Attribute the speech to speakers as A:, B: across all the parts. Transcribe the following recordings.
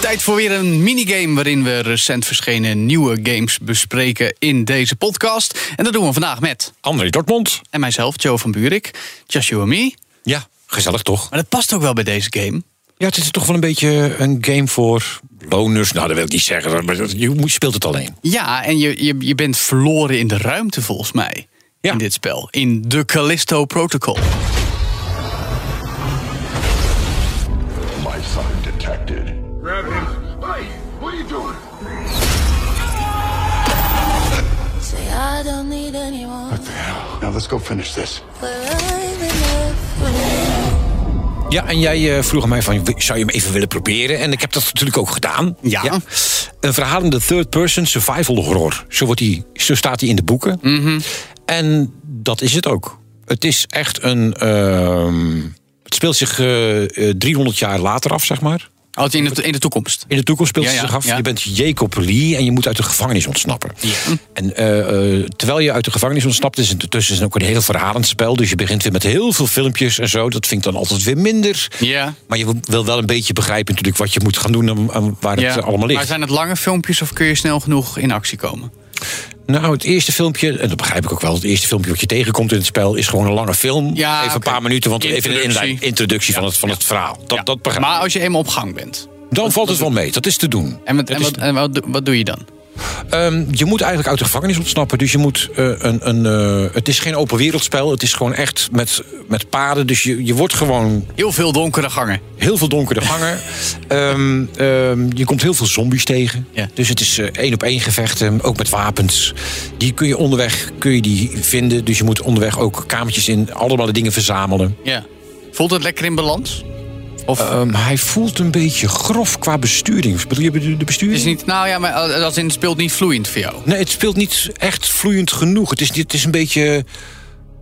A: Tijd voor weer een minigame waarin we recent verschenen nieuwe games bespreken in deze podcast. En dat doen we vandaag met
B: André Dortmund.
A: en mijzelf, Joe van Buurik, Just You and Me.
B: Ja, gezellig toch?
A: Maar dat past ook wel bij deze game.
B: Ja, het is toch wel een beetje een game voor loners. Nou, dat wil ik niet zeggen, maar dat- je moet- speelt het alleen.
A: Ja, en je, je, je bent verloren in de ruimte volgens mij.
B: Ja.
A: In dit spel. In de Callisto Protocol.
C: My son detected.
D: Grab him. Hey, what are you doing?
E: Say I don't need anyone.
C: Now let's go finish this.
E: We're alive enough for now.
B: Ja, en jij eh, vroeg aan mij van, w- zou je hem even willen proberen? En ik heb dat natuurlijk ook gedaan.
A: Ja.
B: Een verhalende third-person survival horror. Zo, wordt die, zo staat hij in de boeken. En dat is het ook. Het is echt een... ehm, het speelt zich eh, eh, 300 jaar later af, zeg maar.
A: Altijd in de, in de toekomst.
B: In de toekomst speelt
A: Ja,
B: ze
A: ja,
B: zich af.
A: ja.
B: Je bent Jacob Lee en je moet uit de gevangenis ontsnappen. En eh, eh, terwijl je uit de gevangenis ontsnapt, is het intussen ook een heel verhalend spel. Dus je begint weer met heel veel filmpjes en zo. Dat vind ik dan altijd weer minder.
A: Ja.
B: Maar je wil- wil wel een beetje begrijpen natuurlijk wat je moet gaan doen en, en waar
A: Ja.
B: het eh, allemaal ligt.
A: Maar zijn het lange filmpjes of kun je snel genoeg in actie komen?
B: Nou, het eerste filmpje, en dat begrijp ik ook wel. Het eerste filmpje wat je tegenkomt in het spel is gewoon een lange film.
A: Ja,
B: even
A: oké.
B: een paar minuten, want even een
A: Introductie.
B: inleiding- introductie van, het, van het verhaal. Dat,
A: Ja.
B: dat begrijp ik.
A: Maar als je eenmaal op gang bent.
B: Dan valt het wel mee. Dat is te doen.
A: En, wat,
B: Dat
A: en,
B: is
A: wat, en wat, doe- wat doe je dan?
B: Ehm, je moet eigenlijk uit de gevangenis ontsnappen. Dus je moet eh, een. een eh, het is geen open wereldspel. Het is gewoon echt met, met paden. Dus je, je wordt gewoon
A: Heel veel donkere gangen.
B: heel veel donkere gangen. Ehm, ehm, je komt heel veel zombies tegen.
A: Ja.
B: Dus het is eh, één op één gevechten. Ook met wapens. Die kun je onderweg kun je die vinden. Dus je moet onderweg ook kamertjes in. Allemaal de dingen verzamelen.
A: Ja. Voelt het lekker in balans? Of
B: Ehm, hij voelt een beetje grof qua besturing. Bedoel je de- de besturing?
A: is niet, nou ja, maar als in het speelt niet vloeiend voor jou.
B: Nee, het speelt niet echt vloeiend genoeg. Het is, het is een beetje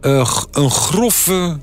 B: eh, g- een grove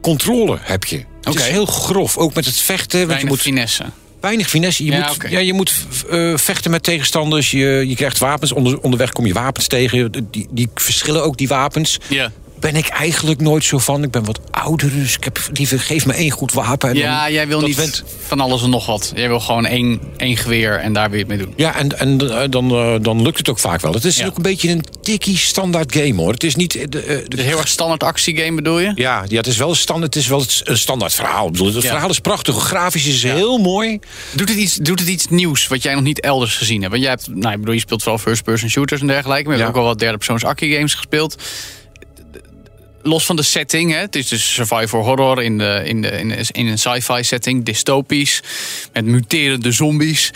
B: controle heb je. Het
A: Oké.
B: is heel grof, ook met het vechten. want
A: Weinig
B: je moet
A: finesse.
B: weinig finesse. Je
A: Ja,
B: moet,
A: oké.
B: ja, je moet eh, vechten met tegenstanders. Je, je krijgt wapens. Onder, onderweg kom je wapens tegen. Die, die verschillen ook, die wapens.
A: Ja.
B: Ben ik eigenlijk nooit zo van. Ik ben wat ouder, dus ik heb liever geef me één goed wapen. En
A: Ja,
B: dan-
A: jij wil
B: dat
A: niet
B: went-
A: van alles en nog wat. Jij wil gewoon één, één geweer en daar wil je het mee doen.
B: Ja, en, en eh, dan, eh, dan lukt het ook vaak wel. Het is
A: Ja.
B: ook een beetje een tikkie standaard game hoor. Het is niet. eh, de- eh, de-
A: Dus heel erg standaard actiegame bedoel je?
B: Ja, ja het, is wel een standaard, het is wel het s- een standaard verhaal. Ik bedoel, het
A: Ja.
B: verhaal is prachtig, grafisch is heel mooi.
A: Doet het, iets, doet het iets nieuws wat jij nog niet elders gezien hebt? Want jij hebt, nou, ik bedoel, je speelt vooral first-person shooters en dergelijke. Maar je
B: Ja.
A: hebt ook wel wat derde-persoons actie-games gespeeld. Los van de setting, hè, het is dus survivor horror in, de, in, de, in, de- in een sci-fi setting, dystopisch, met muterende zombies.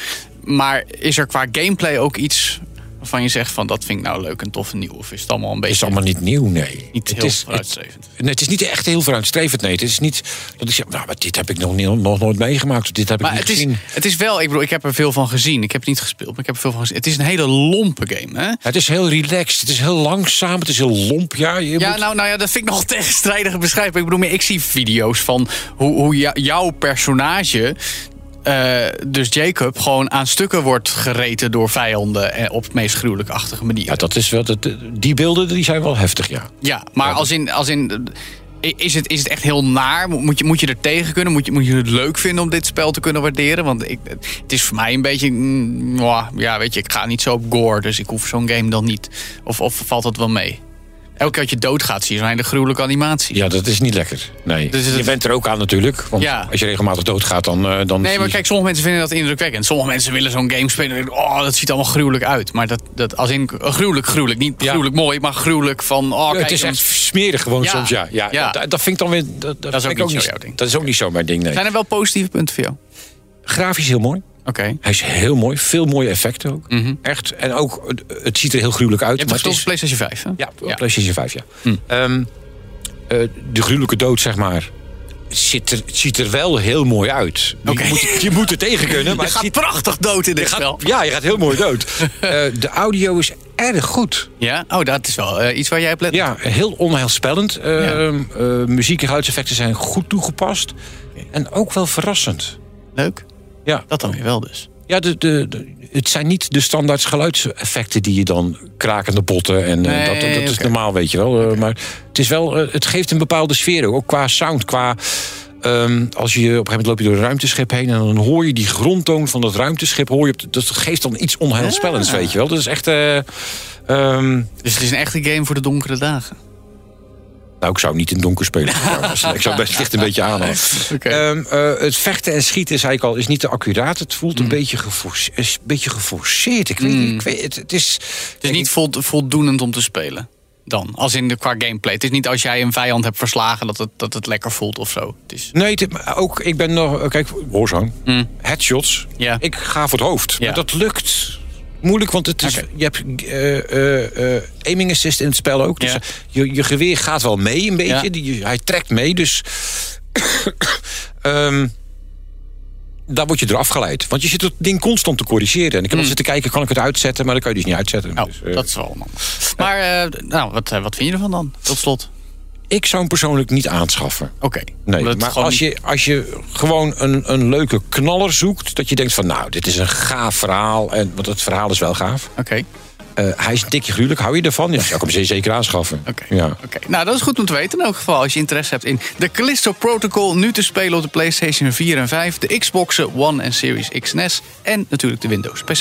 A: Maar is er qua gameplay ook iets waarvan je zegt van dat vind ik nou leuk en tof en nieuw? Of is het allemaal een
B: Het
A: beetje
B: is allemaal niet nieuw, nee.
A: niet
B: het
A: heel
B: is, het,
A: vooruitstrevend?
B: nee, het is niet echt heel vooruitstrevend, nee. Het is niet dat ik zeg, nou, maar dit heb ik nog, niet, nog nooit meegemaakt. of Dit heb
A: Maar
B: ik
A: het
B: niet
A: is,
B: gezien.
A: het is wel, ik bedoel, ik heb er veel van gezien. Ik heb het niet gespeeld, maar ik heb er veel van gezien. Het is een hele lompe game, hè?
B: Het is heel relaxed, het is heel langzaam, het is heel lomp. Ja, je
A: Ja,
B: moet-
A: nou, nou ja, dat vind ik nog tegenstrijdige beschrijving. Ik bedoel, meer, ik zie video's van hoe, hoe jou- jouw personage, eh, dus Jacob, gewoon aan stukken wordt gereten door vijanden eh, op het meest gruwelijkachtige manier.
B: ja, dat is wel, dat, die beelden die zijn wel heftig, ja.
A: Ja, maar als in. Als in eh, is het, is het echt heel naar? Mo- Moet je, moet je er tegen kunnen? Moet je, moet je het leuk vinden om dit spel te kunnen waarderen? Want ik, het is voor mij een beetje. mm, mwah, ja, weet je, ik ga niet zo op gore, dus ik hoef zo'n game dan niet. Of, of valt dat wel mee? Elke keer dat je doodgaat, zie je zo'n hele gruwelijke animatie.
B: Ja, dat is niet lekker. Nee.
A: Dus het-
B: Je bent er ook aan natuurlijk. Want
A: Ja.
B: als je regelmatig doodgaat, dan. eh, dan
A: Nee,
B: zie
A: maar
B: je-
A: kijk, sommige mensen vinden dat indrukwekkend. Sommige mensen willen zo'n game spelen. en denken, Oh, dat ziet allemaal gruwelijk uit. Maar dat, dat als in eh, gruwelijk, gruwelijk. Niet
B: Ja.
A: gruwelijk mooi, maar gruwelijk van. Oh,
B: Ja,
A: kijk,
B: het is
A: een-
B: echt smerig gewoon
A: Ja.
B: soms, ja. ja,
A: Ja.
B: Dat, dat vind ik dan weer... Dat, dat,
A: is
B: vind
A: ook
B: ik
A: niet zo jouw ding.
B: Dat is ook niet zo mijn ding, nee.
A: Zijn er wel positieve punten voor jou?
B: Grafisch heel mooi.
A: Oké.
B: Hij is heel mooi. Veel mooie effecten ook. Echt. En ook, eh, het ziet er heel gruwelijk uit.
A: Mhm. Je hebt
B: maar
A: het
B: het
A: gespeeld op
B: is,
A: PlayStation 5, hè? Hm.
B: ja, op PlayStation 5, ja. Ehm, eh, de gruwelijke dood, zeg maar. zit er, het ziet er wel heel mooi uit.
A: Oké.
B: Je, moet, je moet er tegen kunnen, maar
A: Je
B: het
A: gaat
B: ziet-
A: prachtig dood in dit spel.
B: ja, je gaat heel mooi dood. Eh, de audio is erg goed.
A: Ja? Oh, dat is wel eh, iets waar jij op let.
B: Ja, heel onheilspellend. Eh,
A: Ja.
B: eh, muziek en geluidseffecten zijn goed toegepast. En ook wel verrassend.
A: Leuk.
B: Ja,
A: Dat dan weer wel dus.
B: ja de, de, de- het zijn niet de standaard geluidseffecten die je dan krakende botten. En, eh,
A: Nee,
B: dat, dat is
A: oké.
B: normaal, weet je wel. Eh, Maar het, is wel, eh, het geeft een bepaalde sfeer ook, ook qua sound. Qua, ehm, als je op een gegeven moment loop je door een ruimteschip heen... en dan hoor je die grondtoon van dat ruimteschip. Hoor je, op de- dat geeft dan iets onheilspellends,
A: Ah.
B: weet je wel. Dat is echt... eh, ehm,
A: Dus het is een echte game voor de donkere dagen.
B: Nou, ik zou niet in het donker spelen. trouwens. ik zou best licht een beetje aanhouden.
A: Oké.
B: Ehm, eh, het vechten en schieten, zei ik al, is niet te accuraat. Het voelt
A: Mm.
B: een, beetje geforce- is een beetje geforceerd. Ik weet, niet, ik weet, het, het is...
A: Het is niet vol- voldoenend om te spelen. Dan, als in de, qua gameplay. Het is niet als jij een vijand hebt verslagen dat het, dat het lekker voelt of zo. Het is,
B: Nee, het- maar ook, ik ben nog... Kijk, Warzone, headshots.
A: Mm. Ja.
B: Ik ga voor het hoofd.
A: Ja.
B: Maar dat lukt moeilijk, want het is,
A: Oké.
B: je hebt eh, eh, eh, aiming assist in het spel ook. Dus
A: Ja.
B: je, je geweer gaat wel mee een beetje.
A: Ja.
B: Die, je- hij trekt mee, dus... ehm, daar word je door afgeleid. Want je zit dat ding constant te corrigeren. En ik heb al zitten kijken, kan ik het uitzetten? Maar dan kan je dus niet uitzetten.
A: Mm. oh,
B: Dus, eh,
A: dat is wel allemaal. Maar eh, nou, wat, eh, wat vind je ervan dan? Tot slot.
B: Ik zou hem persoonlijk niet aanschaffen.
A: Oké.
B: Nee,
A: Omdat het
B: maar
A: gewoon
B: als
A: niet-
B: je, als je gewoon een, een leuke knaller zoekt... dat je denkt van, nou, dit is een gaaf verhaal. En, want het verhaal is wel gaaf.
A: Oké.
B: Eh, hij is een tikje gruwelijk, hou je ervan? Ja, zou ik hem zeker aanschaffen.
A: Oké.
B: Ja.
A: Oké. Nou, dat is goed om te weten in elk geval. Als je interesse hebt in de Callisto Protocol. Nu te spelen op de PlayStation 4 en 5. De Xboxen One en Series X NES. En natuurlijk de Windows PC.